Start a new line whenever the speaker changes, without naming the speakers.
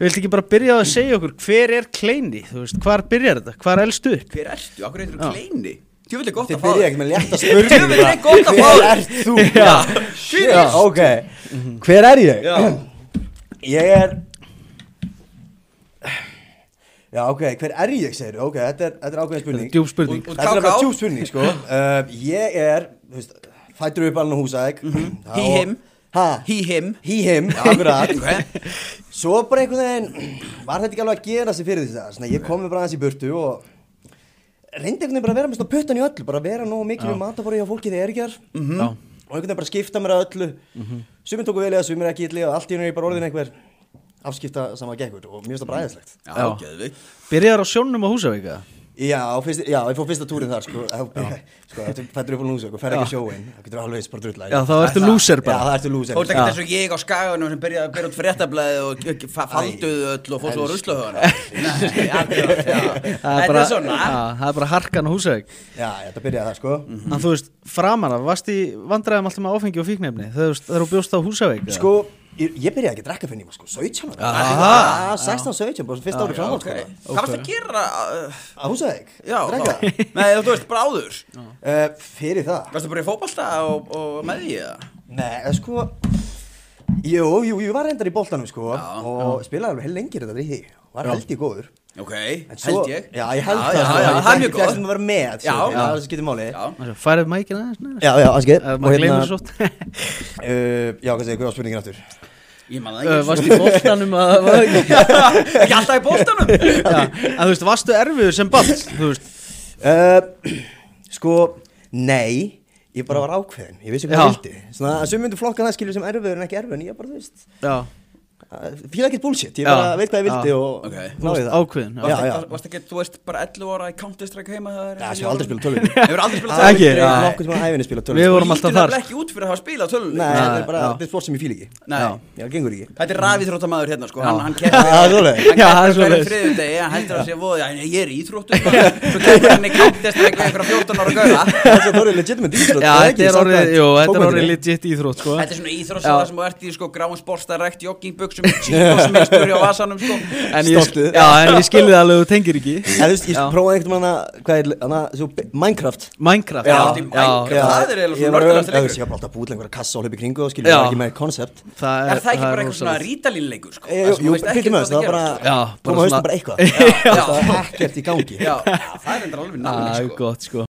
Viltu ekki bara byrja á að segja okkur hver er Kleini, þú veist, hvar byrjar þetta, hvar elstu upp?
Hver ertu? Akkur eitthvað
Já.
kleini? Tjófileg gott
Þið
að fá
byrja
þig
ekki með létta spurningu
Djöfull er gott að fá
Hver
þig. Mhm.
ert þú? Já, ok Hver er ég?
Já.
Ég er Já, ok, hver er ég, segir Ok, þetta er, þetta er ákveðin spurning
Djúb spurning.
Og- og-
Þetta er
KK?
bara djúb spurning, sko uh, Ég er, þú veist, fættur upp alveg húsæk
Mhm. He, him.
Mm-hmm. Ha?
He, him
He, him, akkurat
Ok.
Svo bara einhvern veginn var þetta ekki alveg að gera sig fyrir því það Svona, ég kom mér bara aðeins í burtu og reyndi einhvern veginn bara að vera með svona puttan í öllu bara að vera nógu mikið við matabóri hjá fólki þegar ég er ekki þar
Mhm.
Já,
og einhvern veginn bara skipta mér að öllu mm -hmm. sumin tóku vel eða sumin ekki illa og allt í hennu er ég bara orðin einhver afskipta saman gekkur og mér finnst það bræðislegt
Já,
Já.
geðvikt
byrjar á sjónum á Húsavíka?
já, á fyrst, já, ég fór fyrsta túrin þar sko, þá- sko þetta fættur upp á lúsök og fer ekki á sjóin það getur alveg eins bara drulla
Já, þá ertu
það-
lúser
já,
bara.
það ertu lúsir
Þú ert ekki þess að ég á skaganum sem byrjaði að byrja út fréttablaði og k- k- fa- falduðu öll og fór svo að rusla höfana Nei, akkurat, já.
Það
Þetta
bara-
er svona
Já, það er bara harkan á Húsavík.
já, þetta byrjaði það sko
Mm.
En þú veist, framan af, varst í vandræðum alltaf með áfengi og fíknefni þegar þú- þegar þú bjóst á Húsavík? eða?
sko, ég, ég byrjaði ekki að drekka fyrir nýma sko, 17 ára
Aha.
Já, 16, 17, bara fyrsta árið framhalds
Ok. Hvað varst að gera? uh,
að húsaðeg,
Já,
drekka
þá- Nei, þú veist, bara áður
uh, fyrir það
Varstu bara í fótbolta og, og með því eða?
Nei, eh, sko Jú, jú, ég var reyndar í boltanum sko
Já.
og spilaði alveg heil lengir þetta því var held ég góður
Ok,
En
held ég
Já, ég held
Já,
það
já,
sko,
já,
ég
það er mjög
fekk sem
góð
að vera með
Já.
sko,
Já.
það skiptir máli
Já,
Færið mækina aðeins neður?
já, já, aðskil
Maður gleymur svo oft.
uh, hérna- Já, hvað segir, hvað var spurningin aftur?
ég man
Ö,
það
Varst í boltanum að... var ekki-
ekki Ekki alltaf í bóltanum
Já, en þú veist, varstu erfiður sem ball, þú veist,
Uh, sko, nei Ég bara var ákveðin, ég vissi hvað
Já.
það vildi Svona, að sum myndu flokka það skilur sem erfiður en ekki erfiður En ég bara, þú veist,
já,
að- fíla ekkert bullshit Ég
Já.
bara veit hvað ég vildi
Já.
og
Ok.
náði
Þú varst
það.
ákveðin, já.
Já, já,
Varst ekki, þú veist, bara 11 ára í Counter-Strike heima
já, sem aldrei spila tölvur
Hefur aldrei spilað
Ekki,
tölvur
já.
Nokkuð sem að æfinni spila tölvur
Við
sko.
vorum- alltaf
Lítur
þar.
nefnilega ekki út fyrir að hafa spilað tölvur
Nei, það er bara,
já.
þetta er sport sem ég fíl ekki
Nei.
Já, gengur ekki
Þetta er rafíþróttamaður hérna sko,
Já.
hann, hann
Já, svoleiðis.
kemur
Já, það er svoleiðis.
friðudegi, hann heldur að sé voði, hann ég er í íþróttu bara. Svo kemur hann í kantest eitthvað einhverja 14 ára gauða Þetta
Þetta er orðið legitimate íþrótt
já,
það
þetta
ekki,
er orðið,
samkvæmt
jú, þetta er orðið
bókmenntinni.
legit íþrótt, sko.
er svona íþróttsaða sem þú ert í sko, gráum sporstarækt, joggingbuxum, cheatosminstur á vasanum sko
En ég,
Stoltið.
já, en ég skilði það alveg, þú tengir ekki.
En þú veist, ég
Já.
prófaði einhvern veginn að, hvað er, hana, svo, Minecraft
Minecraft,
Já,
já,
allt í
já,
Minecraft. það er eiginlega svona
Ég var
nördilegasti
öll-
leikur.
Ég var bara alltaf búið einhverja kassa og hlaupi í kringu og
Já.
skilja ekki með koncept
það
Er það
er
ekki bara eitthvað svona
rosalegt.
rítalínleikur sko?
Jú, jú, pílum með þess, það var
Já,
bara
bara
Koma haustum
svona-
bara eitthvað Það
Já.
var ekkert í gangi
Já, það er endur alveg
Það
náli
er
sko
gott, sko.